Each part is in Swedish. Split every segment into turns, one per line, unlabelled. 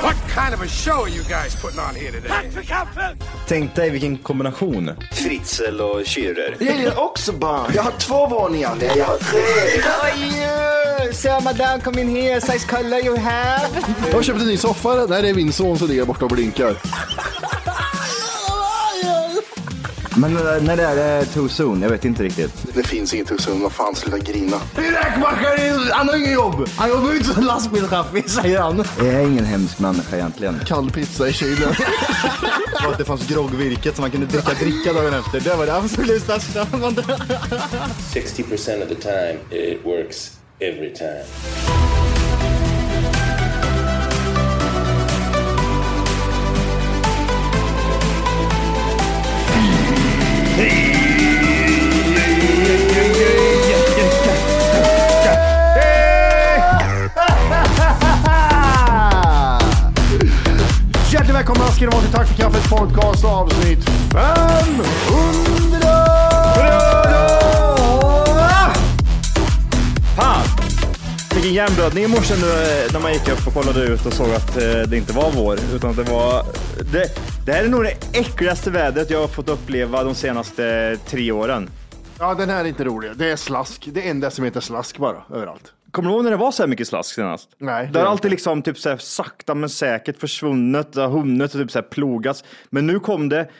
What kind of a show are you guys putting on here today?
Tänk dig vilken kombination.
Fritzl och Schürrer.
Jag gillar också barn. Jag har två våningar. Nej, jag har tre.
How are you? So madame, come in here. Size color you have.
Jag har köpt en ny soffa. Där är min son som ligger borta och blinkar.
Men eh, när det är eh, too soon? Jag vet inte riktigt.
Det finns inget hus vad fan sluta grina.
Räkmackaren, han har inget jobb. Han jobbar inte som lastbilschaffis, säger han. Jag är ingen hemsk människa egentligen.
Kall pizza i kylen.
Och att det fanns groggvirket som man kunde dricka dricka dagen efter. Det var det absolut största.
60% of the time, it works every time.
Hjärtligt välkomna ska ni vara till Tack för kaffet podcast avsnitt 500!
Fan! Vilken hjärnblödning i morse nu, eh, när man gick upp och kollade ut och såg att eh, det inte var vår. Utan att det var... Det, det här är nog det äckligaste vädret jag har fått uppleva de senaste tre åren.
Ja, den här är inte rolig. Det är slask. Det är en decimeter slask bara, överallt.
Kommer du ihåg när det var så här mycket slask senast?
Nej, det
Det har
gör
alltid liksom typ så här sakta men säkert försvunnit, det har hunnit och typ så här plogats. Men nu kom det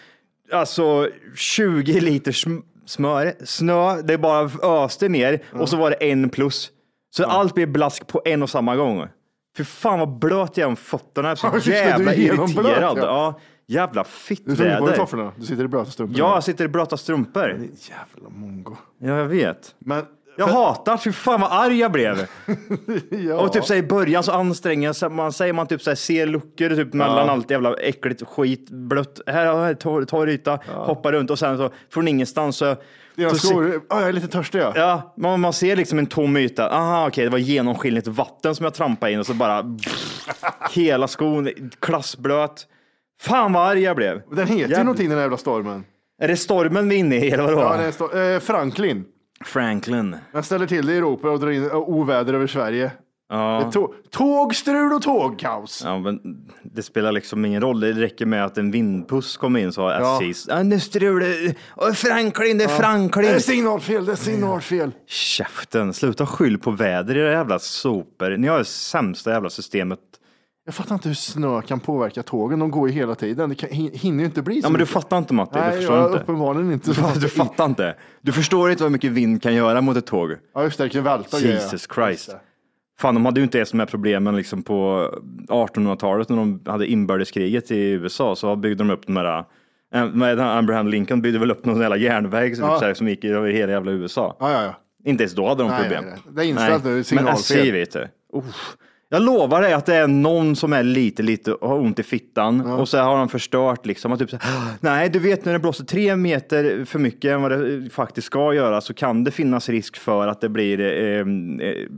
alltså 20 liter sm- smör, snö, det bara öste ner och så var det en plus. Så allt blev blask på en och samma gång. Fy fan vad blöt jag är om fötterna. Jag
Ja,
är
just
så
det, du är
jävla
genomblöt,
irriterad.
ja.
Ja. jävla
Du tror inte på
fittväder.
tofflorna? Du sitter i blöta strumpor.
Ja, jag sitter i blöta strumpor.
Jävla mongo.
Ja, jag vet.
Men...
Jag hatar, fy fan vad arg jag blev.
Ja.
Och typ så här, i början så anstränger sig- man sig, man typ så här, ser luckor typ, mellan allt jävla äckligt skit, blött, här, här torr, torr yta, hoppar runt och sen så från ingenstans så...
Dina
så se-
skor... Ah, jag är lite törstig jag.
Ja, man, man ser liksom en tom yta. Aha, okej, det var genomskinligt vatten som jag trampade in och så bara hela skon klassblöt. Fan vad arg jag blev.
Den heter ju
Jävla-
någonting den här jävla stormen.
Är det stormen vi är inne i eller vadå?
Ja, den är stor... eh, Franklin.
Franklin.
Den ställer till det i Europa och drar in eh, oväder över Sverige.
Ja.
Tå- tågstrul och tågkaos.
Ja, men det spelar liksom ingen roll. Det räcker med att en vindpuss kommer in så har SJs. Ja. nu strular Åh, Franklin, det är
Det
Franklin.
är signalfel, det är signalfel.
Käften, sluta skyll på väder i era jävla sopor. Ni har det sämsta jävla systemet.
Jag fattar inte hur snö kan påverka tågen. De går ju hela tiden. Det kan, hin- hinner ju inte bli så
Ja, men du
mycket.
fattar inte Matti,
Nej,
du förstår
jag,
inte.
uppenbarligen inte.
Du fattar inte. Du förstår inte vad mycket vind kan göra mot ett tåg.
Ja, just det. Det kan välta och grejer.
Jesus Christ. Fan, de hade ju inte ens de här problemen liksom på 1800-talet när de hade inbördeskriget i USA. Så byggde de upp de här, eh, vad heter han? Abraham Lincoln byggde väl upp någon jävla järnväg som,
Ja.
så här, som gick över hela jävla USA.
Ja, ja, ja.
Inte ens då hade de
Nej,
problem.
nej, nej. Det är inställt nu, signalfel.
Men äh, SJ vet du. Uff. Jag lovar dig att det är någon som är lite, lite, har ont i fittan och så har de förstört liksom. Och typ så här, Nej, du vet när det blåser tre meter för mycket än vad det eh, faktiskt ska göra så kan det finnas risk för att det blir eh, eh,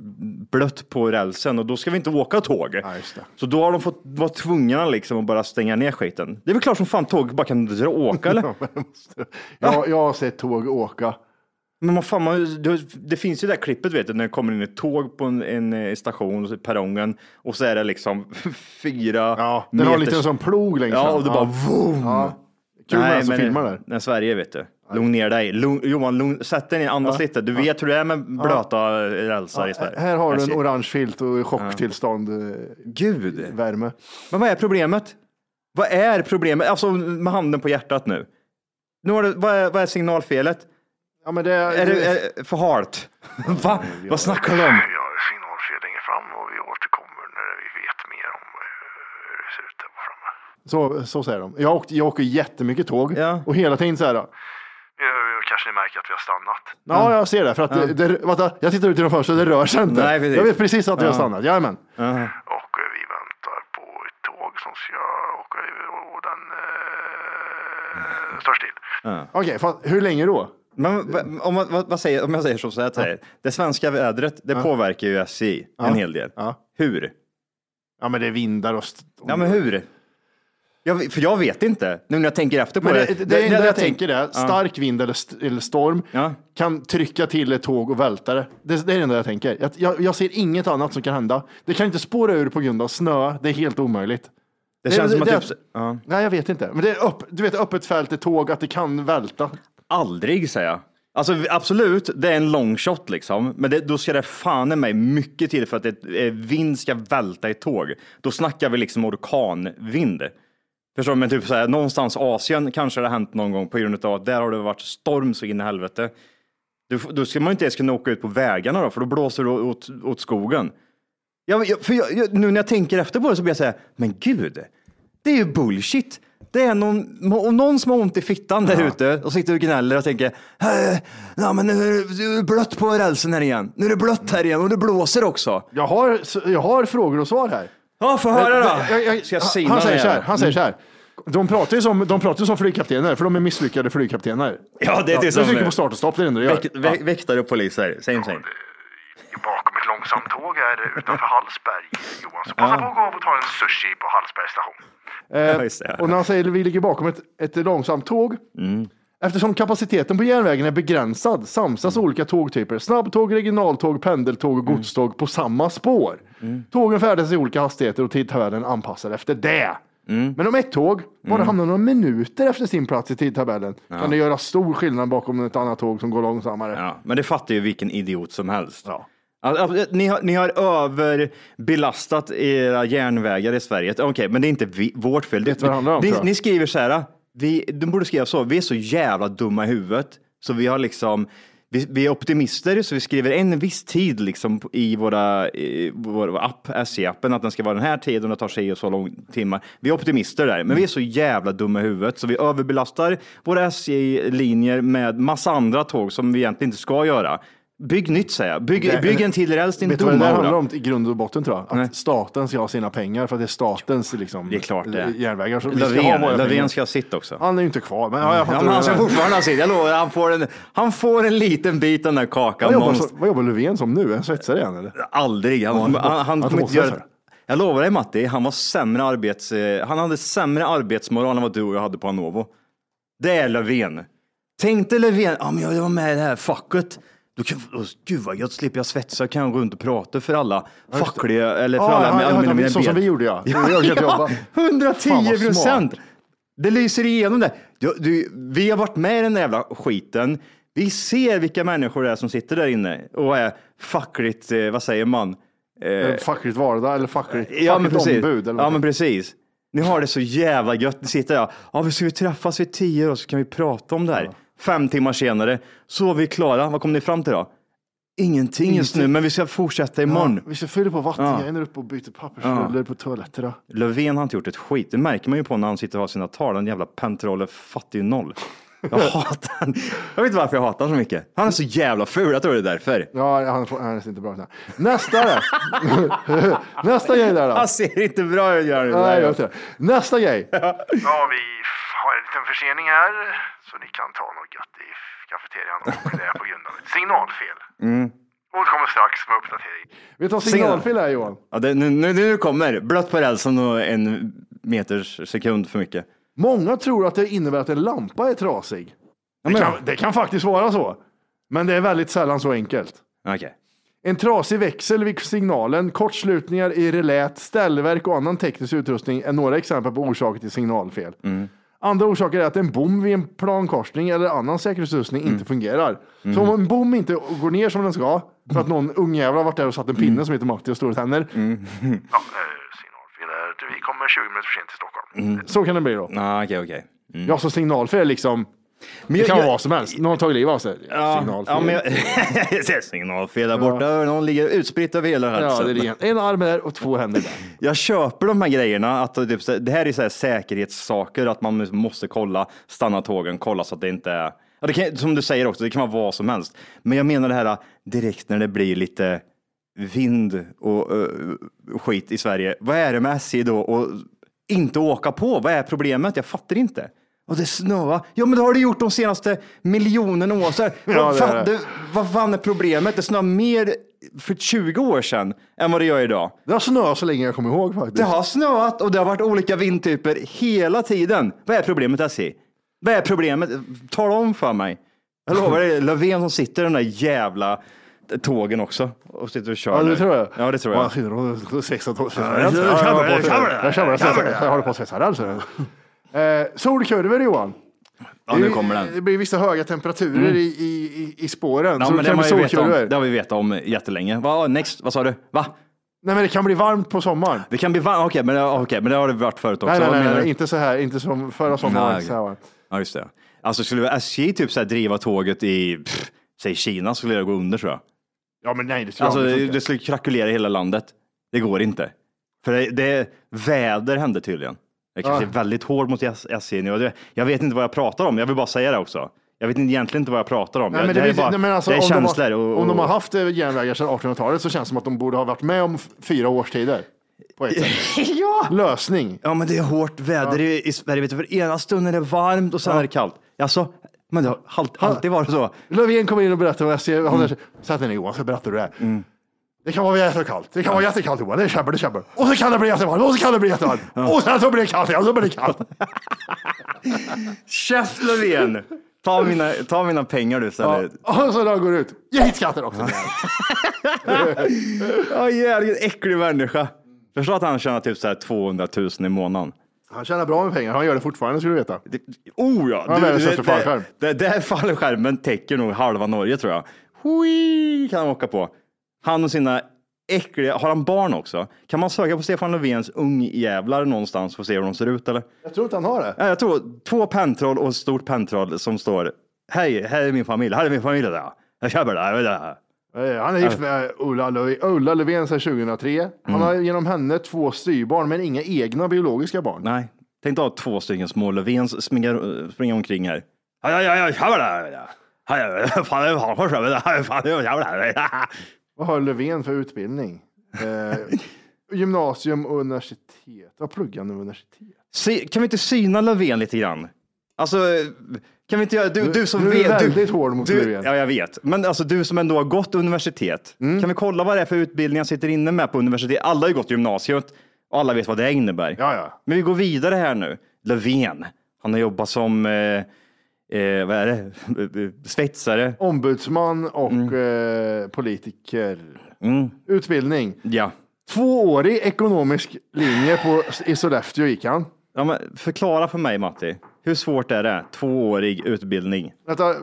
blött på rälsen och då ska vi inte åka tåg.
Ja, just det.
Så då har de fått vara tvungna liksom att bara stänga ner skiten. Det är väl klart som fan tåg bara kan dra- åka eller?
Ja, men det måste- Jag, jag har sett tåg åka.
Men vad fan, man, det, det finns ju det där klippet vet du, när det kommer in ett tåg på en, en eh, station, och så perrongen, och så är det liksom fyra
Ja, den har lite en sån plog längst
Ja,
fram.
och det bara vroom.
Ja. Kul med den som filmar där.
Nej, eh, Sverige vet du. Lugn ner dig. Lugn, Johan, lugn, sätt dig ner, andas lite. Du vet hur det är med blöta eh, rälsar i Sverige.
Här har du en
Alltså,
orange filt och chocktillstånd. eh,
Gud.
Värme.
Men vad är problemet?
Vad är problemet? Alltså med handen på hjärtat nu. nu har det, vad, är, vad är signalfelet?
Ja, men det är,
Är det är det för halt? Va? Vad snackar du om?
Ja, signalfel längre fram och vi återkommer när vi vet mer om eh, hur det ser ut där framme.
så, så säger de. Jag, åkte, jag åker jättemycket tåg
Ja.
och hela tiden så här. Ja,
Ja, kanske ni märker att vi har stannat.
jag ser det. För att det, det, vänta, jag tittar ut genom fönstret, det rör sig inte.
Nej, precis.
jag vet precis att vi har stannat. Jajamän.
Och eh, vi väntar på ett tåg som ska åka över och den eh, står still.
Okej, fan, hur länge då?
Men, va- om, man, vad, vad säger, om jag säger som så här till dig. Det svenska vädret, det påverkar ju SJ en hel del.
Ja.
Hur?
Ja, men det är vindar och... st-
Ja, men hur? Jag, för jag vet inte, nu när jag tänker efter på
Men
det.
det, det, det enda jag,
jag tänk-
tänker är stark vind eller, st- eller storm
Ja.
kan trycka till ett tåg och välta det. Det, det är det enda jag tänker. Jag, jag, jag ser inget annat som kan hända. Det kan inte spåra ur på grund av snö. Det är helt omöjligt.
Det känns som att
det-
typ, så- ja.
Nej, jag vet inte. Men det är upp, du vet, öppet fält är tåg, att det kan välta.
aldrig säger jag. Alltså absolut, det är en long shot liksom, men det, då ska det fan i mig mycket till för att ett eh, vind ska välta ett tåg. Då snackar vi liksom orkanvind. Förstår du? Men typ så här, någonstans Asien kanske det har hänt någon gång på grund av att där har det varit storm så in i helvete. Du, f- då ska man ju inte ens kunna åka ut på vägarna då, för då blåser det åt, åt skogen. Jag, jag, för jag, jag, nu när jag tänker efter på det så blir jag säga, men gud, det är ju bullshit. Det är någon, om någon som har ont i fittan där ute och sitter och gnäller och tänker, "Eh, ja men nu är det blött på rälsen här igen. Nu är det blött här igen och det blåser också.
Jag har, jag har frågor och svar här.
Ja, få höra då.
Jag- jag-
Ska jag
han-
sina Mm.
han säger
den
så här.
jäveln?
Han säger så här. De pratar ju som, de pratar ju som flygkaptener, för de är misslyckade flygkaptener.
Ja, det är det
de
som
trycker på start och stopp, det är det enda de gör.
Väk, vä, väktare och poliser, same same.
Bakom ett långsamt tåg är det utanför Hallsberg, Johan. Så passa på att gå av och ta en sushi på Hallsberg station.
Eh,
Ja, just det.
och när han säger att vi ligger bakom ett, ett långsamt tåg.
Mm.
Eftersom kapaciteten på järnvägen är begränsad samsas
Mm.
olika tågtyper. Snabbtåg, regionaltåg, pendeltåg och godståg på samma spår.
Mm.
Tågen färdas i olika hastigheter och tidtabellen anpassar efter det.
Mm.
Men om ett tåg bara hamnar några minuter efter sin plats i tidtabellen kan det göra stor skillnad bakom ett annat tåg som går långsammare.
Ja, men det fattar ju vilken idiot som helst. Alltså, alltså, Ni har, ni har överbelastat era järnvägar i Sverige. Okej, men det är inte vi, vårt fel.
Vet vad det handlar om,
ni,
tror jag.
ni skriver så här, vi, de borde skriva så, vi är så jävla dumma i huvudet så vi har liksom, vi, vi är optimister så vi skriver en viss tid liksom i våra, i vår app, SJ-appen, att den ska vara den här tiden och tar sig och så lång timmar. Vi är optimister där, men vi är så jävla dumma i huvudet så vi överbelastar våra SJ-linjer med massa andra tåg som vi egentligen inte ska göra. Bygg nytt säger jag, bygg,
Nej,
bygg
men-
en till räls din
Vet du vad det
dumma
där
hora.
handlar om i grund och botten tror jag? Att
Nej.
staten ska ha sina pengar för att det är statens liksom,
Det är klart det.
järnvägar. Så vi ska ha våra
Löfven,
pengar.
Löfven ska sitta också.
Han är ju inte kvar, men ja, jag
Ja,
fattar
men han
vad du
ska
menar.
fortfarande ha sitt. Jag lovar, han får en, han får en liten bit av den där kakan.
vad, jobbar,
Måns-
så- vad jobbar Löfven som nu? En svetsare igen eller?
Aldrig. Han, han, han,
han
kommer inte
måste
göra
göra det.
Jag lovar dig Matti, han var sämre arbets... eh, Han hade sämre arbetsmoral än vad du och jag hade på Anovo. Det är Löfven. Tänk dig Löfven, ja men jag var med i det här facket. Då kan, åh, gud vad gött, slipper jag svetsa kan jag gå runt och prata för alla fackliga, eller för
Ja,
alla
ja, ja,
allmänna
ja, så som
medel-
vi gjorde, ja.
ja,
Jag kan
ja
jobba.
110
Fan, vad
procent.
smart.
Det lyser igenom det. Du, du, vi har varit med i den där jävla skiten. Vi ser vilka människor det är som sitter där inne och är fackligt, eh, vad säger man?
Eh, Fackligt vardag eller fackligt,
Ja, men
fackligt
precis.
ombud. Eller
ja,
vad
men
det
precis. Ni har det så jävla gött. Ni sitter där. Ja, vi ska vi träffas vid tio då så kan vi prata om det här. Fem timmar senare så är vi klara. Vad kom ni fram till då? Ingenting just nu, men vi ska fortsätta imorgon.
heter. Vi ska fylla på vattengrejer uppe och byta pappersrullar på toaletterna.
Löfven har inte gjort ett skit. Det märker man ju på när han sitter och har sina tal. Den jävla pentrolle fattig noll. Jag hatar han. Jag vet inte varför jag hatar honom så mycket. Han är så jävla ful. Jag tror det är därför.
Ja, han, får, han ser inte bra ut. Nästa där. Nästa grej där då.
Han ser inte bra ut. Gör
Nej, jag vet inte. Nästa grej.
Ja, vi f- har en liten försening här. Så ni kan ta något gött i f- kafeterian. Och det är på grund av ett signalfel. Återkommer strax med uppdatering.
Vet du vad signalfel är Johan?
Ja, det, nu, nu, nu kommer blött på rälsen och en meters sekund för mycket.
Många tror att det innebär att en lampa är trasig. Det kan, det kan faktiskt vara så. Men det är väldigt sällan så enkelt.
Okej.
En trasig växel vid signalen, kortslutningar i relät, ställverk och annan teknisk utrustning är några exempel på orsaker till signalfel.
Mm.
Andra orsaker är att en bom vid en plankorsning eller annan säkerhetsutrustning
Mm.
inte fungerar. Så om en bom inte går ner som den ska, för att någon ung jävla har varit där och satt en
Mm.
pinne som heter Matti och stora tänder,
Ja, eh, signalfel är att vi kommer 20 minuter för sent till Stockholm.
Så kan det bli då.
Ja, okej, okej.
Ja, så signalfel är liksom, det
jag-
kan vara
Mm. jag-
vad som helst. Någon har tagit livet av sig.
Ja,
signalfel.
ja, men jag, jag ser signalfel där borta. Någon ligger utspritt över hela
Ja,
halsen.
det är rent. En arm där och två händer där.
Jag köper de här grejerna. Att typ, så- det här är så här säkerhetssaker, att man måste kolla, stanna tågen, kolla så att det inte är... Ja, det kan, som du säger också, det kan vara vad som helst. Men jag menar det här direkt när det blir lite vind och eh, skit i Sverige. Vad är det med SJ då och inte åka på? Vad är problemet? Jag fattar inte. Och det snöar. Ja, men det har det gjort de senaste miljonerna år. Så här,
Ja,
vad,
det
fan,
är det.
det, vad fan är problemet? Det snöar mer för 20 år sedan än vad det gör idag.
Det har snöat så länge jag kommer ihåg faktiskt.
Det har snöat och det har varit olika vindtyper hela tiden. Vad är problemet SJ? Vad är problemet? Tala om för mig. Jag lovar dig, Löfven som sitter i den där jävla tågen också och sitter och kör.
Ja,
nu.
det tror jag.
Ja, det tror jag.
Man skyller 16 år.
jag tror- jag tror- jag tror-
Jag kör bara Jag håller på att svetsar alltså. Eh, Solkurvor Johan.
Ja, nu kommer
Det
den. Mm.
blir vissa höga temperaturer i, i, i- i spåren.
Ja,
så
men
det
det,
kan
har
bli
man ju vetat om,
solkurvor.
det har vi vetat om jättelänge. Va, next, vad sa du? Va?
Nej, men det kan bli varmt på sommaren.
Det kan bli varmt. Okej, men, ja, okej, men det har det varit förut också.
Nej, nej,
Vad
nej,
menar
nej,
du?
inte så här. Inte som förra sommaren.
Nej,
inte så här varmt.
Ja, just det. Alltså skulle SJ typ så här driva tåget i, pff, säg Kina skulle det gå under tror jag.
Ja, men nej, det tror
Alltså,
jag
det,
inte. funkar.
skulle krackelera hela landet. Det går inte. För det, det väder hände tydligen. Jag kanske
Ja.
är väldigt hård mot S- SJ nu. Det- Jag vet inte vad jag pratar om. Jag vill bara säga det också. Jag vet inte- egentligen inte vad jag pratar om.
Nej,
jag, det,
men det,
här är
blir-
bara,
nej, men alltså,
det är
om de har-
känslor. och, och,
Om de har haft eh, järnvägar sedan 1800-talet så känns det som att de borde ha varit med om f- fyra årstider. På ett sätt.
ja.
Lösning.
ja, men det är hårt väder i, i Sverige. Vet du, för ena stunden är det varmt och sen är det kallt. Alltså, men det har halt- alltid varit så.
Löfven kommer in och berättar vad SJ håller. Mm. Sätt dig ner Johan, så berättar du det här.
Mm.
Det kan vara jättekallt. Det kan vara jättekallt Johan. Det är käbbel, det är käbbel. Och så kan det bli jättevarmt. Och så kan det bli jättevarmt. Och sen så blir det kallt igen. Så blir det kallt.
Käft Löfven! Ta mina, ta mina pengar du istället.
Och så när han går ut. Ge hit skatten också.
Ja, jävligt äcklig människa. Förstå att han tjänar typ så här 200 000 i månaden.
Han tjänar bra med pengar. Han gör det fortfarande ska du veta.
Det, oh ja!
Ja, världens största fallskärm.
Det, det, här fallskärmen täcker nog halva Norge tror jag. Hui, kan han åka på. Han och sina äckliga, har han barn också? Kan man söka på Stefan Löfvens ungjävlar någonstans för att se hur de ser ut eller?
Jag tror inte han har det.
Nej, jag tror två pentroll och ett stort pentroll som står, hej, här är min familj, här är min familj där. Jag köper det här. det här."
Eh, Han är gift med Ulla, Löf- Ulla Löfven sedan 2003. Han
Mm.
har genom henne två styrbarn men inga egna biologiska barn.
Nej, tänk dig ha två stycken små Löfvens springa, springa omkring här. Ja, ja, ja, jag köper det här. Ja, ja, Fan, jag har köpt det här. Fan, jag köper det här.
Vad har Löfven för utbildning? Eh, gymnasium och universitet. Vad pluggar han nu universitet?
Se, kan vi inte syna Löfven lite grann? Alltså, kan vi inte göra, du, du som
du är
vet.
väldigt hård mot
du,
Löfven. Mm.
Ja, jag vet. Men alltså du som ändå har gått universitet. Kan vi kolla vad det är för utbildning jag sitter inne med på universitet? Alla har ju gått gymnasiet och alla vet vad det innebär.
Ja, ja.
Men vi går vidare här nu. Löfven, han har jobbat som, eh, eh, vad är det, svetsare.
Ombudsman och eh, politiker.
Mm.
Utbildning.
Ja.
Tvåårig ekonomisk linje på, i Sollefteå gick han.
ja men förklara för mig Matti, hur svårt är det? Tvåårig utbildning.
Vänta, ho-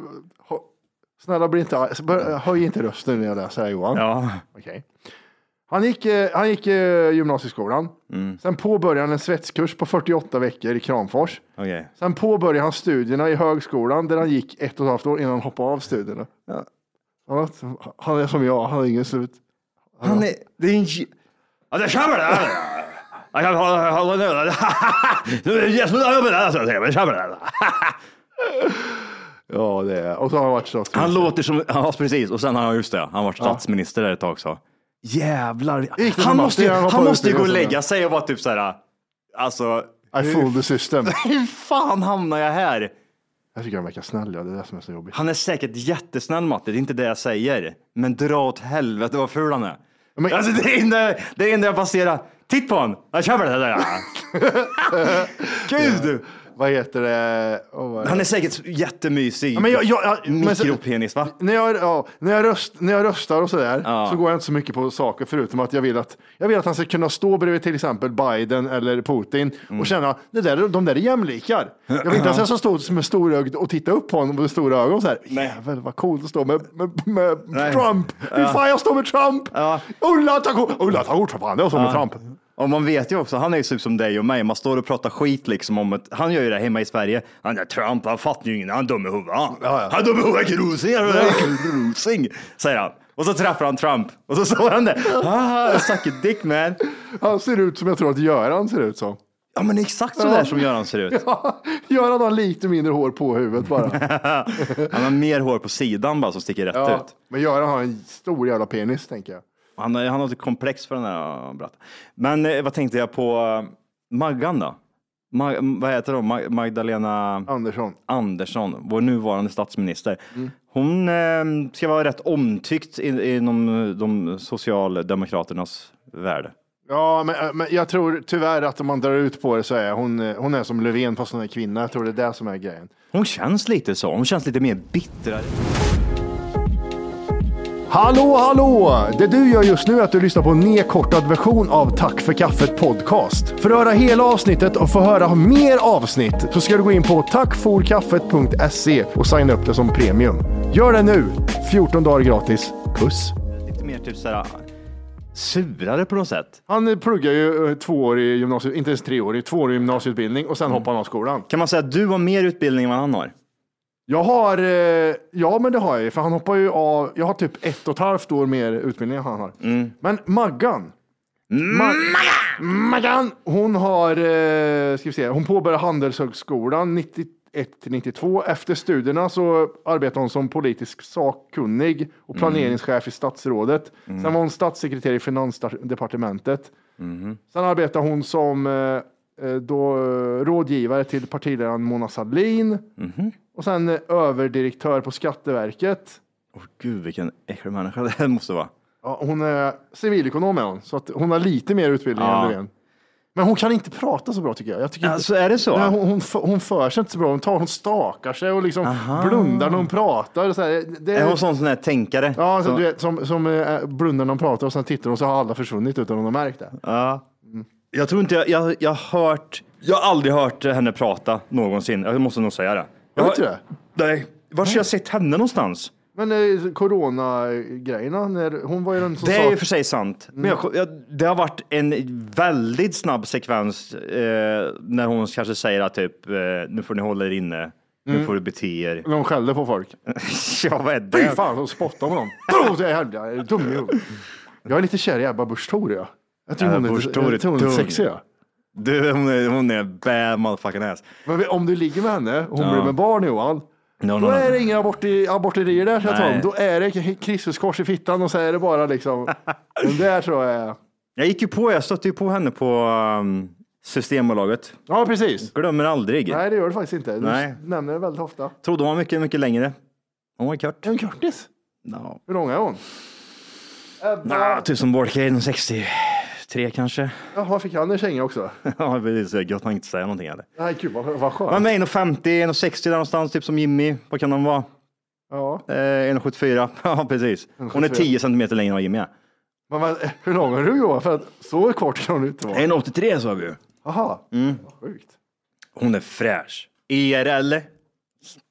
snälla bli inte arg. Bör- Höj inte rösten när jag läser här Johan.
Ja,
Okej. Han gick, eh, han gick eh, gymnasieskolan.
Mm.
Sen påbörjade han en svetskurs på 48 veckor i Kramfors.
okej.
Sen påbörjade han studierna i högskolan där han gick ett och ett halvt år innan han hoppade av studierna.
Ja.
Han har- Han är som jag, han har ingen slut.
Han är, det är en... j- Ja, det kommer det! Jag kan hålla hålla nu. Nu är det jättebra jobb med det här, så jag tänker, men det kommer det.
Ja, det är. Och så har han varit så.
Han låter som, ja precis, och sen har han, just det, han var statsminister där ett tag också.
Gick det
Jävlar.
som
Han måste, ju,
Matti, han hoppade
han måste ju
ut i
gå och
det
lägga
sen.
sig och vara typ så här, alltså,
I fooled the system.
hur fan hamnar jag här?
Jag tycker han verkar snäll, ja. det är det som är så jobbigt.
Han är säkert jättesnäll Matti, det är inte det jag säger. Men dra åt helvete vad ful han är.
Men-
Alltså det är enda, det är enda jag passerar. Titt på honom! Jag kör på det där. Gud!
Vad heter det? Oh, vad är det?
Han är säkert jättemysig.
men alltså- jag- jag- jag- men så-
Mikropenis va?
När jag, ja, när, jag röst, när jag röstar och sådär
Ja.
så går jag inte så mycket på saker förutom att jag vill att, jag vill att han ska kunna stå bredvid till exempel Biden eller Putin
Mm.
och känna det där, de där är jämlikar. Jag vill inte att jag ska stå som en storögd och titta upp på honom med stora ögon så här. Jävel vad coolt att stå med, med, med Trump. Hur fan jag står med Trump? Ulla tar kort, Ulla tar kort för fan, jag står med Trump.
Och man vet ju också, han är ju typ som dig och mig. Man står och pratar skit liksom om att, han gör ju det hemma i Sverige. Han är Trump, han fattar ju ingen, han är dum i huvudet. Han
Ja, ja.
Han är dum i huvudet, grusing, han är grusing, säger han. Och så träffar han Trump och så står han där. Ah, suck a dick man.
Han ser ut som jag tror att Göran ser ut som.
Ja men exakt så där som Göran ser ut.
Göran har lite mindre hår på huvudet bara.
Han har mer hår på sidan bara som sticker rätt
Ja,
ut.
men Göran har en stor jävla penis tänker jag.
Han, har- han har ett komplex för den här bratten. Men eh, vad tänkte jag på eh, Maggan då? Ma- vad heter hon? Ma- Magdalena
Andersson.
Andersson, vår nuvarande statsminister. Hon eh, ska vara rätt omtyckt in- inom de socialdemokraternas värld.
Ja, men, men jag tror tyvärr att om man drar ut på det så är hon, eh, hon är som Löfven fast hon är kvinna. Jag tror det är det som är grejen.
Hon känns lite så. Hon känns lite mer bittrare.
Hallå, hallå! Det du gör just nu är att du lyssnar på en nedkortad version av Tack för kaffet podcast. För att höra hela avsnittet och få höra mer avsnitt så ska du gå in på tackforkaffet.se och signa upp det som premium. Gör det nu! 14 dagar gratis. Puss!
Lite mer typ såhär surare på något sätt.
Han pluggar ju eh, två år i gymnasiet, inte ens tre år, i två år i gymnasieutbildning och sen hoppar han av skolan.
Kan man säga att du har mer utbildning än vad han har?
Jag har, eh, ja men det har jag ju, för han hoppar ju av, jag har typ ett och ett halvt år mer utbildning än han har. Men Maggan, Ma- Maggan, hon har, eh, ska vi se, hon påbörjar Handelshögskolan 91 till 92. Efter studierna så arbetar hon som politisk sakkunnig och planeringschef i statsrådet. Sen var hon statssekreterare i finansdepartementet. Sen arbetar hon som eh, eh, då, eh, rådgivare till partiledaren Mona Sahlin och sen eh, överdirektör på Skatteverket.
Åh gud vilken äcklig människa det här måste vara.
Ja, hon är civilekonom är hon, så att hon har lite mer utbildning än Löfven. Men hon kan inte prata så bra tycker jag. jag tycker
Alltså
inte...
är det så?
Nej, hon, hon, f- hon för sig inte så bra. Hon, tar, hon stakar sig och liksom blundar när hon pratar. och Så här, det
Är hon sån sån här tänkare?
Ja, så,
Som-
du vet, som, som eh, blundar när hon pratar och sen tittar hon så har alla försvunnit utan hon har märkt det.
Jag tror inte jag, jag, jag har hört, jag har aldrig hört henne prata någonsin. Jag måste nog säga det. Jag
Har du inte det?
Nej. Var har jag sett henne någonstans?
Men eh, corona-grejerna, när- hon var ju den som
Det
sa...
är ju för sig sant.
Mm.
Men jag, jag, det har varit en väldigt snabb sekvens eh, när hon kanske säger att typ, eh, nu får ni hålla er inne, nu
Mm.
får du bete er.
När hon skällde på folk.
ja, vad är det?
Fy fan, hon spottade på dem. Bro, det är helvete, jag är dum i huvudet. Jag är lite kär i Ebba Busch Thor, jag. Jag tror
Ebba
hon är,
Busch Thor är
jag tror hon är
tung.
sexig. jag.
Du, hon är, hon är bad motherfucking ass.
Men om du ligger med henne, hon blir med barn Johan,
No,
då
no,
är
no.
det inga aborti, aborterier där, ska jag tala om.
Nej.
Då är det Kristuskors i fittan och så är det bara liksom. Den där tror jag är...
Jag gick ju på, jag stötte ju på henne på um, Systembolaget.
Ja, precis.
Glömmer aldrig.
Nej, det gör du faktiskt inte. Du
Nej.
nämner det väldigt ofta.
Trodde hon var mycket, mycket längre. Hon var kort.
En kortis.
No.
Hur lång är hon?
Ah, tusen bolkar, 63 kanske.
Jaha, fick han en känga också?
Ja, precis. Jag kan inte säga någonting heller.
Nej, gud vad, vad skönt.
Men 1,50, 1,60 där någonstans, typ som Jimmy. Vad kan de vara?
Ja.
Eh, 1,74. Ja, precis. Hon är 10 centimeter längre än vad Jimmy är.
Men, vad- hur lång är du Johan? För att så kort kan hon inte vara.
1,83 sa vi ju.
Jaha, Vad sjukt.
Hon är fräsch. IRL?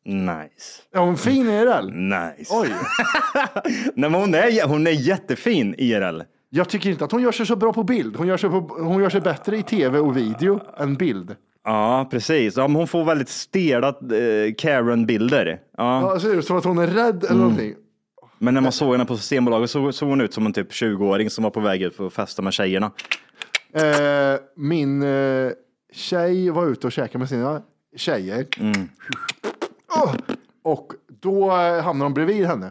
Nice.
Är hon fin i IRL?
Nice.
Oj.
Nej, men hon, är, hon är jättefin IRL.
Jag tycker inte att hon gör sig så bra på bild. Hon gör sig, på, hon gör sig bättre i tv och video än bild.
Ja, precis. Ja, men hon får väldigt stela eh, Karen-bilder. Ja.
Ja, det ser ut som att hon är rädd eller någonting.
Men när man såg henne på Systembolaget så såg hon ut som en typ 20-åring som var på väg ut för att festa med tjejerna.
Eh, min eh, tjej var ute och käkade med sina tjejer. Åh! Och då eh, hamnade de bredvid henne.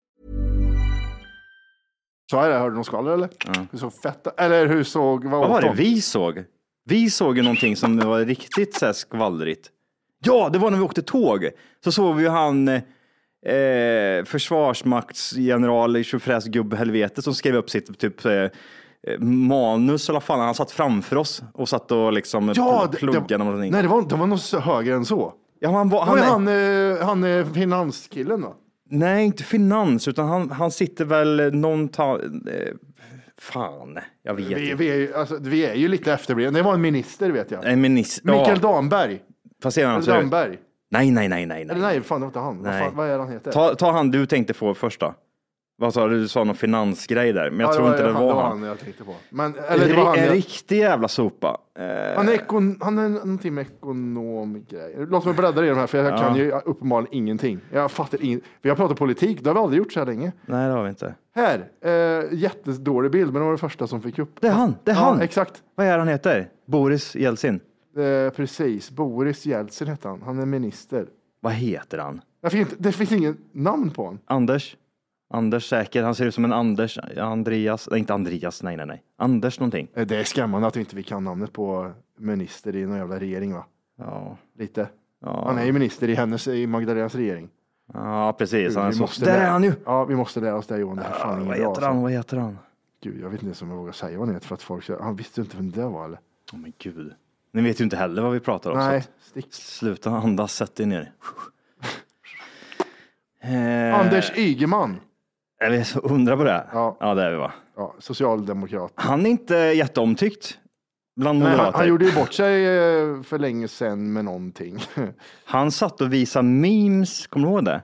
Sa jag det? Hörde du något skvaller eller? Hur såg fett... Eller hur såg... Vad,
Vad var
åt
det
de?
vi såg? Vi såg ju någonting som var riktigt så här skvallrigt. Ja, det var när vi åkte tåg. Så såg vi ju han eh, försvarsmaktsgeneral tjofräs helvete som skrev upp sitt typ eh, manus eller vad fan. Han satt framför oss och satt och liksom
Ja,
pl-
det,
pluggade
det,
eller någonting.
nej, det var, det var något högre än så.
Ja, han, var,
Han,
han,
var
är-
han, eh, han är finanskillen va?
Nej, inte finans, utan han, han sitter väl någon... Ta, eh, fan, jag vet
Vi,
inte.
vi, är, ju- alltså, vi är ju lite efterblivna. Det var en minister vet jag.
En minister.
Mikael
ja,
Damberg.
fast sedan
Eller
så är det-
Damberg.
Nej, nej, nej, nej.
Eller
nej.
nej, fan det var inte han. Vad,
Nej.
fan, vad är han heter?
Ta, ta han du tänkte få först då. Vad sa du? Du sa någon finansgrej där, men jag
Ja,
tror inte det var,
Det var
han.
han jag tänkte på. Men, eller det var han.
en
jag-
riktig jävla sopa. Eh,
Han är, ekon, han är någonting med ekonomgrej. Låt mig bläddra i de här, för jag kan ju uppenbarligen ingenting. Jag fattar inget. Vi har pratat politik, det har vi aldrig gjort så här länge.
Nej, det har vi inte.
Här, eh, jättedålig bild, men det var det första som fick upp.
Det är han, det är
ja,
han.
Exakt,
Vad är han heter? Boris Jeltsin.
eh, precis. Boris Jeltsin heter han, han är minister.
Vad heter han?
Jag fick inte, det finns ingen namn på honom.
Anders? Anders säkert. Han ser ut som en Anders. Andreas. Nej, inte Andreas. Nej, nej, nej. Anders någonting.
Eh, Det är skrämmande att vi inte vi kan namnet på minister i någon jävla regering, va?
Ja,
Lite.
Ja.
Han är ju minister i, hennes, i Magdalenas regering.
ja precis. Han är
Vi
så...
måste
Där
lära-
är han ju.
Ja, vi måste lära oss det Johan. Det här är fan
Vad
inget
heter
bra.
han?
Alltså.
Vad heter han?
Gud, jag vet inte ens om jag vågar säga vad han heter för att folk säger, han visste ju inte vem det var eller?
Åh men gud. Ni vet ju inte heller vad vi pratar om. så
Nej,
att-
stick.
Sluta andas, sätt dig ner. eh,
Anders Ygeman,
Är Eh, vi så undra på det?
Ja.
det är vi va?
ja, socialdemokrat.
Han är inte jätteomtyckt bland
Nej,
moderater.
han,
han,
han gjorde ju bort sig eh, för länge sedan med någonting.
satt och visade memes, kommer du ihåg det?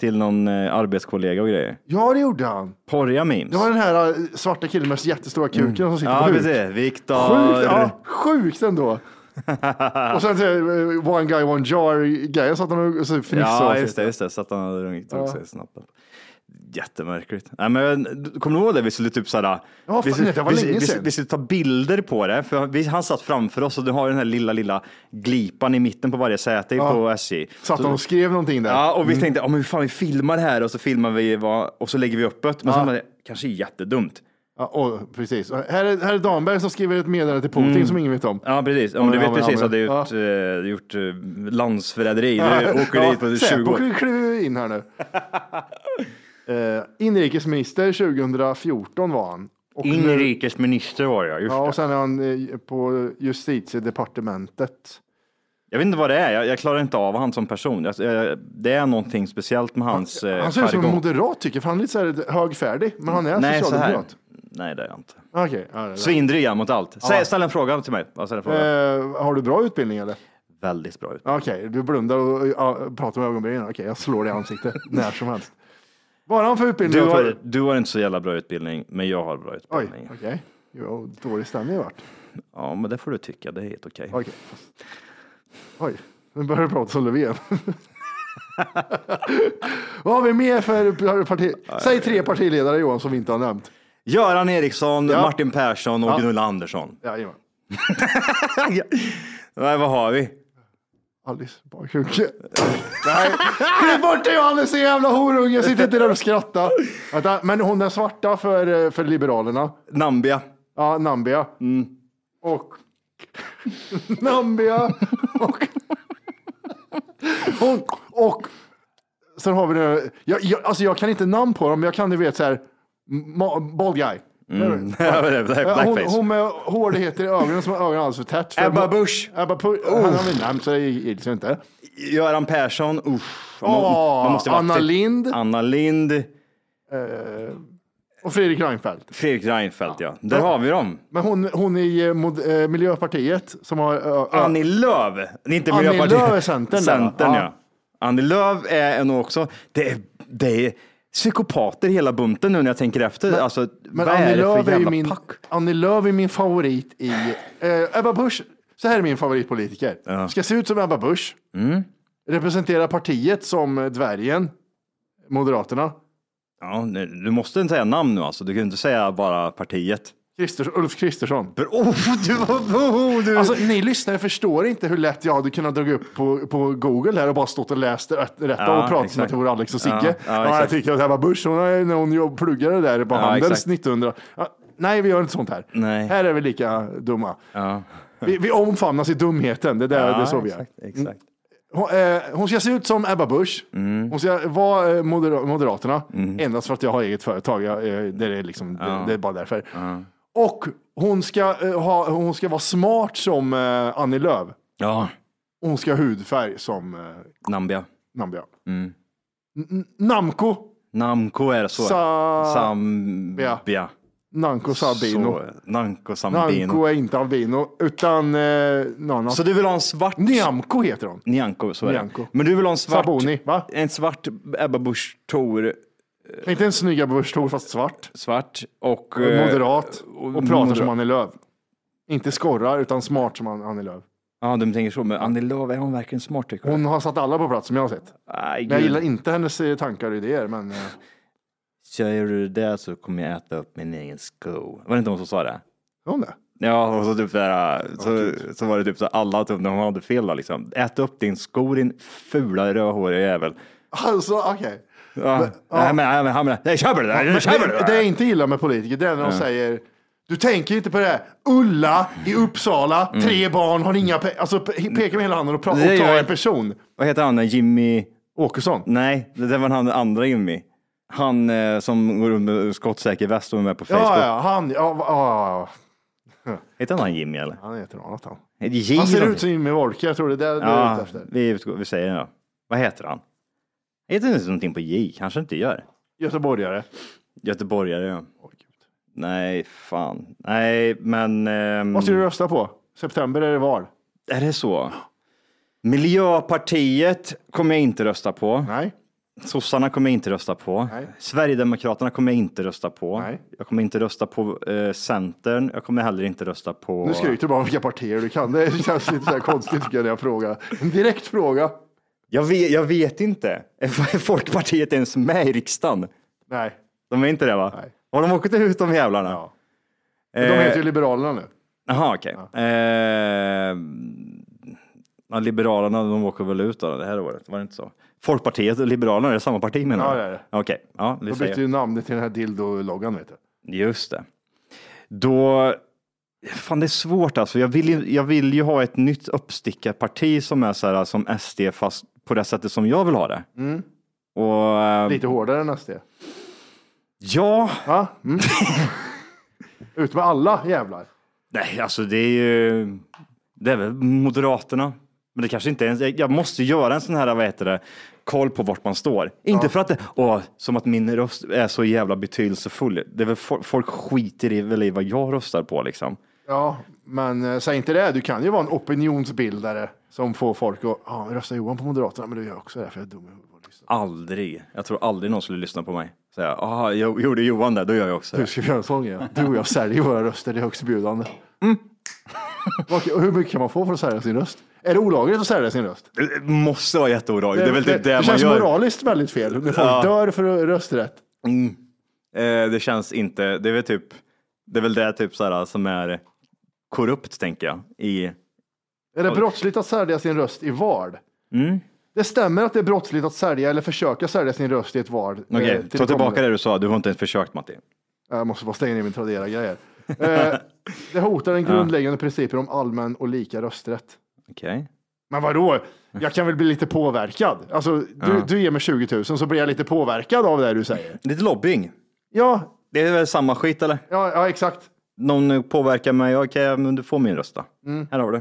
Till någon eh, arbetskollega och grejer.
ja, det gjorde han.
Porriga memes.
Det var den här eh, svarta killen med jättestora kuken som sitter
Mm. ja,
på huk.
precis. Viktor.
Sjukt, ja, sjukt ändå. och sen så, eh, one guy, one jar-grejen satt han och så fnissade.
Ja,
åt
just det,
sig.
just det. Så att han hade rungit tog sig snabbt. Jättemärkligt. Nej, men, kommer du ihåg det? Vi skulle typ såhär.
Ja,
vi,
fan,
skulle,
det var
vi,
länge
vi,
sedan.
vi skulle ta bilder på det. För vi, han satt framför oss och du har den här lilla, lilla glipan i mitten på varje säte på SJ.
Satt han och skrev Mm. någonting där.
Ja, och vi tänkte, ja men hur fan vi filmar det här och så filmar vi vad, och så lägger vi upp det. Men sen var det kanske jättedumt.
Ja, och, precis. Och Här är, här är Damberg som skriver ett meddelande till Putin som ingen vet om.
Mm. Ja, precis. Om du
men,
vet
ja, men,
precis
ja,
att det är
men.
gjort, eh, gjort eh, landsförräderi. Du åker dit på 20 år.
Säpo kliver in här nu. Eh, inrikesminister 2014 var han. Och nu-
Inrikesminister var jag, just
ja,
det.
och sen är han eh, på justitiedepartementet.
Jag vet inte vad det är. Jag, jag klarar inte av han som person. Jag, jag, det är någonting speciellt med hans eh,
Han ser ut som en
jargong.
moderat tycker jag, för han är lite så här högfärdig, men han är
Nej, så här.
socialdemokrat.
Nej, det är jag inte.
Okej. ja, det är det.
Svindrig är jag mot allt. Säg, Ställ en fråga till mig. Ja, ställ en fråga.
Eh, har du bra utbildning eller?
Väldigt bra ut.
Okej, du blundar och ja, pratar med ögonbrynen. Okej, jag slår dig i ansiktet när som helst. Vad har han för utbildning?
Du
då, tror
har, du har inte så jävla bra utbildning, men jag har bra
Oj,
utbildning.
okej. Jo, dålig stämning vart.
Ja, men det får du tycka. Det är helt okej.
Okej. Oj, nu börjar du prata som Löfven. Vad har vi mer för parti? Säg tre partiledare Johan som vi inte har nämnt.
Göran Eriksson,
Ja.
Martin Persson och Gunilla Andersson.
Jajamän.
Nej, vad har vi?
Alice Bakunke. Nej, klipp bort det Johannes, din jävla horunge. Sitt inte där och skratta. Vänta, Men hon är svarta för, för Liberalerna.
Nambia.
Ja, Nambia.
Mm.
Och Nambia. Och... Hon... och sen har vi det. Jag, jag, alltså jag kan inte namn på dem, men jag kan du vet så här. Ma- Bald guy.
Mm, Blackface.
Hon, hon med hårdhet i ögonen som har ögonen alldeles för tätt. För
Ebba Busch. Oh.
Ebba Busch. Han har vi nämnt så det gills ju inte.
Göran Persson. Usch. Man-
Åh,
man måste vara
Anna
aktiv.
Lind. Eh,
Anna Lind.
Och Fredrik Reinfeldt.
Fredrik Reinfeldt, ja. Där har vi dem.
Men hon, hon i eh, mod, eh, Miljöpartiet som har... eh, ö- ö-
Annie Lööf. Det är Inte
Annie
Miljöpartiet.
Lööf är Centern, där, va?
Centern, ja.
Ja.
Annie Lööf är en också. Det är, det är psykopater hela bunten nu när jag tänker efter. alltså,
Men
vad
Annie
är det
Lööf
för
är, ju
jävla
min,
pack?
Annie Lööf är min favorit i... Eh, Ebba Busch, så här är min favoritpolitiker. Ska se ut som Ebba Busch. Representera partiet som eh, dvärgen, Moderaterna.
Ja, nu- du måste inte säga namn nu alltså. Du kan ju inte säga bara partiet.
Kristers, Ulf Kristersson.
Oh, du, oh, du.
Alltså, ni lyssnare förstår inte hur lätt jag hade kunnat dra upp på, på Google här och bara stått och läst rätt, rätta
Ja,
och pratat med
exakt.
Tor, Alex och Sigge.
Ja,
Ja,
ja,
jag
exakt.
tycker att det här var Busch, hon, har- när hon jobb- pluggade där på
Ja,
Handels
exakt.
1900. Ja, nej, vi gör inte sånt här.
Nej.
Här är vi lika dumma.
Ja.
Vi, vi omfamnas i dumheten, det, där, det är så vi gör.
exakt, exakt.
Hon, eh, hon ska se ut som Ebba Busch.
Mm.
Hon ska vara eh, moder Moderaterna endast för att jag har eget företag. Jag, eh, det, är liksom, det, det är bara därför. Och hon ska, eh, ha, hon ska vara smart som eh, Annie Lööf.
Ja,
Och Hon ska ha hudfärg som eh,
Nambia.
Nambian.
Mm.
N- N- Namco.
Namco är det så.
Sa-
Zambia.
Namco Sabino.
Så, Namco Sambino.
Namco
Så,
är inte albino, utan eh, någon annan.
du vill ha en svart?
Nyamko heter hon.
Nianco, så är
Nyamko.
det. Men du vill ha en svart?
Saboni, va?
En svart Ebba Busch Thor,
Inte en snygg Ebba Busch Thor, fast svart.
svart och... eh,
Moderat och pratar som
moderat.
Annie Lööf. Inte skorrar utan smart som Ann- Annie Lööf.
Ja, de tänker så. Men Annie Lööf, är hon verkligen smart tycker du?
Hon har satt alla på plats som jag har sett.
Nej,
Men jag
gud.
gillar inte hennes eh, tankar och idéer. Men, eh,
Gör du det så kommer jag äta upp min egen sko. Var det inte hon som sa det?
gör hon det?
Ja, och så, typ såhär, så, så var det typ så här, alla typ, när hon hade fel då, liksom. Ät upp din sko din fula rödhåriga jävel.
Alltså okej.
Ja. Nej, men, nej, men han menar, nej, köper det där,
Men
köper det
Det, det
där.
jag inte gillar med politiker det är när de säger du tänker inte på det här. Ulla i Uppsala, tre barn, har inga pengar. Alltså pe- pekar med hela handen och, pra-
Mm. Det
och tar
gör-
en person.
Vad heter han, Jimmy?
Åkesson.
Nej, det där var han andra Jimmy. Han eh, som går runt med skottsäker väst och är med på Facebook.
Ja, ja, han, ja, va- ja,
Heter han Jimmy eller?
han heter något annat han.
Är det Jimmy?
Han ser ut som Jimmy Wolke, jag tror det är det du är
Ja,
ute efter.
vi, utgår- vi säger det. då. Vad heter han? Heter han inte någonting på J? Kanske inte gör.
Göteborgare.
Göteborgare, ja. Nej, fan. Nej, men... ehm,
Vad ska du rösta på? September är det val.
Är det så? Miljöpartiet kommer jag inte rösta på.
Nej.
Sossarna kommer jag inte rösta på.
Nej.
Sverigedemokraterna kommer jag inte rösta på.
Nej.
Jag kommer inte rösta på eh, Centern. Jag kommer heller inte rösta på...
Nu skryter du bara om vilka partier du kan. Det känns lite så här konstigt tycker jag när jag frågar. En direkt fråga.
jag, vet, jag vet inte. Är Folkpartiet ens med i riksdagen?
Nej.
De är inte det va?
Nej.
Har de åkt ut de jävlarna? Eh,
Ja. Men De heter ju Liberalerna nu.
Jaha, okej. Eh, ja, liberalerna, de åker väl ut då, det här året? Var det inte så? Folkpartiet och Liberalerna, är det samma parti menar
Ja,
du?
det är det.
Okej, ja, vi
De bytte
säger.
ju namnet till den här dildo-loggan vet du.
Just det. Då... Fan, det är svårt alltså. Jag vill ju, jag vill ju ha ett nytt uppstickarparti som är så här som SD, fast på det sättet som jag vill ha det. Och, eh,
Mm. Lite hårdare än SD.
ja,
Ja? Mm. Ut med alla jävlar.
Nej, alltså det är ju... Det är väl Moderaterna. Men det kanske inte ens... Jag måste göra en sån här, vad heter det, koll på vart man står. Inte för att det... Åh, som att min röst är så jävla betydelsefull. Det är väl fo- folk skiter i, väl i vad jag röstar på liksom.
Ja, men eh, säg inte det. Du kan ju vara en opinionsbildare som får folk att ja, rösta Johan på Moderaterna, men du gör också det här för jag är dum i huvudet. och lyssnar."
Aldrig. Jag tror aldrig någon skulle lyssna på mig. Säga, ah, jag gjorde Johan det, då gör jag också
Hur
det.
ska vi göra en sång igen? Du och jag säljer våra röster, det är högstbjudande. Mm. Okej, och hur mycket kan man få för att sälja sin röst? Är det olagligt att sälja sin röst?
Det måste vara jätteolagligt. Det är väl typ det, man
känns
gör.
moraliskt väldigt fel när folk
Ja.
dör för rösträtt.
Eh, det känns inte, det är väl typ, det är väl det typ så här som är korrupt tänker jag. I,
Är det brottsligt att sälja sin röst i vard?
Mm.
Det stämmer att det är brottsligt att sälja eller försöka sälja sin röst i ett vard. eh,
Okej,
till
ta
det
tillbaka
kommande.
det du sa. Du har inte ens försökt Matti.
Jag måste bara stänga ner min Tradera-grejer. Eh, det hotar den grundläggande principen om allmän och lika rösträtt.
Okej.
Men vadå? Jag kan väl bli lite påverkad? Alltså, du, du ger mig 20 000 så blir jag lite påverkad av det du säger.
Lite lobbying.
Ja,
Det är väl samma skit eller?
ja, ja exakt.
Någon påverkar mig. Okej, men du får min röst då. Här har du.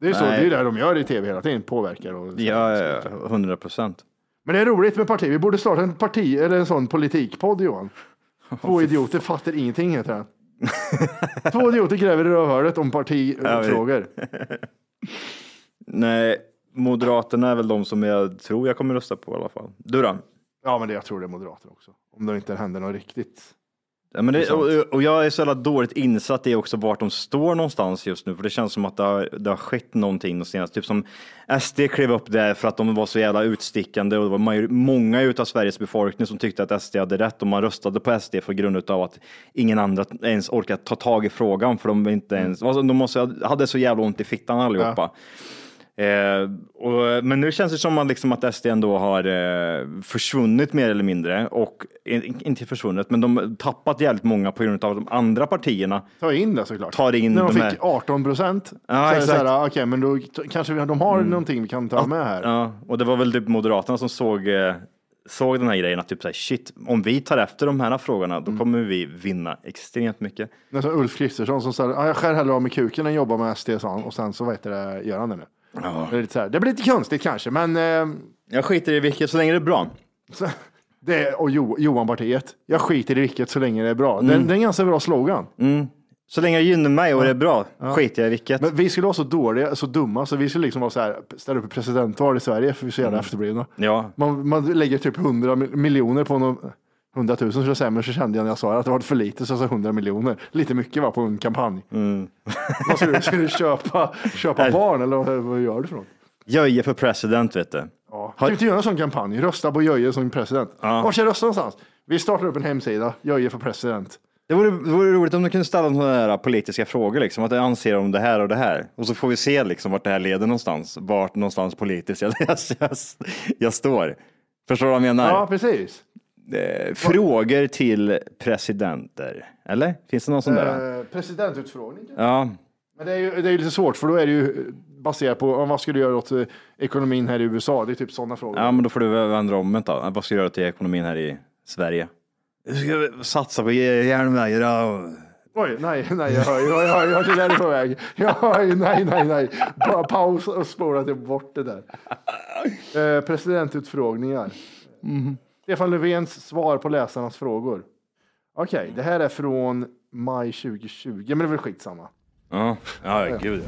Det är ju så, det
Nej.
är ju det de gör i tv hela tiden, påverkar och...
Ja, ja, ja, 100 procent.
Men det är roligt med parti. Vi borde starta en parti eller en sån politikpodd Johan. Två idioter fattar ingenting heter den. Två idioter gräver i rövhålet om partifrågor.
Nej, Moderaterna är väl de som jag tror jag kommer rösta på i alla fall. Du då?
Ja, men det, jag tror det är moderater också. Om det inte händer något riktigt
Ja, men det, och, och jag är så jävla dåligt insatt i också vart de står någonstans just nu, för det känns som att det har, det har skett någonting de senaste, typ som SD klev upp där för att de var så jävla utstickande och det var major, många utav Sveriges befolkning som tyckte att SD hade rätt och man röstade på SD för grund utav att ingen andra ens orkade ta tag i frågan för de var inte ens, alltså, de måste, hade så jävla ont i fittan allihopa. Eh, och, men nu känns det som att, liksom att SD ändå har eh, försvunnit mer eller mindre. Och in, inte försvunnit, men de har tappat jävligt många på grund av att de andra partierna.
Ta in det såklart.
Tar in
När de,
de här-
fick 18 procent.
Ja,
så är det så
exakt. Mm.
här, "Ah, okej, men då t- kanske vi, de har någonting vi kan ta med här.
Ja, och det var väl typ Moderaterna som såg, eh, såg den här grejen att typ så här, shit, om vi tar efter de här frågorna, då kommer vi vinna extremt mycket.
Nästan Ulf Kristersson som sa, "Ja, jag skär hellre av med kuken än jobbar med SD, sa han. Och sen så, vad heter det, gör han det nu. Det, är lite så här, det blir lite konstigt kanske, men eh,
Jag skiter i vilket, så länge det är bra.
så, det är, och jo, Johan-partiet, jag skiter i vilket så länge det är bra. Det, det är en ganska bra slogan.
Så länge det gynnar mig och det är bra, skiter jag i vilket.
Men vi skulle vara så dåliga, så dumma, så vi skulle liksom vara så här, ställa upp i presidentval i Sverige, för vi är så jävla efterblivna.
Ja.
Man, man lägger typ 100 mil- miljoner på någon, 100 000 skulle jag säga, men så kände jag när jag sa det att det var för lite, så jag sa 100 miljoner. Lite mycket var på en kampanj. Vad ska du, ska du köpa, köpa
Nej.
barn eller vad, vad gör du för något?
Göje för president, vet du.
Ja. Ska vi inte göra en sån kampanj? Rösta på Göje som president. Var ska jag rösta någonstans? Vi startar upp en hemsida, Göje för president.
Det vore, det vore roligt om du kunde ställa sådana här politiska frågor, liksom, att jag anser om det här och det här. Och så får vi se liksom, vart det här leder någonstans, vart någonstans politiskt jag, jag, jag, jag står. Förstår du vad jag menar?
Ja, precis.
Eh, Frågor till presidenter, eller? Finns det någon sån där?
Eh, presidentutfrågning.
Ja,
Men det är ju det är ju lite svårt, för då är det ju eh, baserat på ja, vad ska du göra åt eh, ekonomin här i USA? Det är typ sådana frågor.
ja, men då får du väl vända om då. Vad ska du göra till ekonomin här i Sverige? Du ska satsa på järnvägar och
Oj, nej, nej, jag hör ju, jag hör ju vart det där är på väg. Jag hör ju, nej, nej, nej. Bara paus och spola till bort det där. Eh, presidentutfrågningar. Stefan Löfvens svar på läsarnas frågor. Okej, det här är från maj 2020, men det är väl skitsamma.
Ja, ja gud.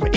Men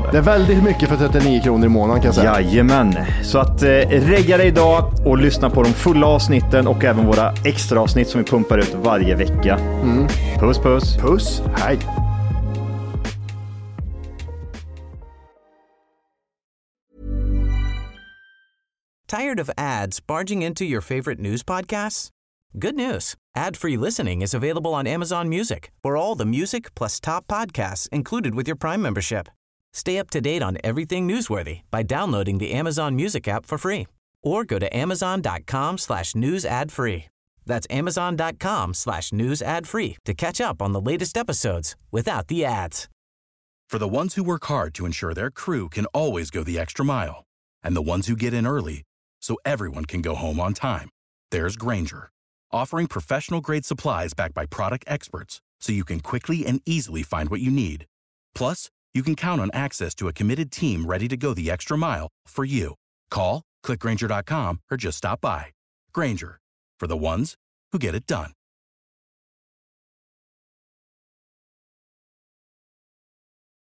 det.
Det är väldigt mycket för 39 kronor i månaden kan jag säga.
Jajamän, så att eh, regga dig idag och lyssna på de fulla avsnitten och även våra extra avsnitt som vi pumpar ut varje vecka. Puss puss!
Puss, hej.
Tired of ads barging into your favorite news podcasts? Good news. Ad-free listening is available on Amazon Music for all the music plus top podcasts included with your Prime membership. Stay up to date on everything newsworthy by downloading the Amazon Music app for free or go to amazon.com slash news ad free. That's amazon.com slash news ad free to catch up on the latest episodes without the ads.
For the ones who work hard to ensure their crew can always go the extra mile, and the ones who get in early so everyone can go home on time, there's Granger, offering professional grade supplies backed by product experts so you can quickly and easily find what you need. Plus, you can count on access to a committed team ready to go the extra mile for you. Call, clickgranger.com, or just stop by. Granger, for the ones who get it done.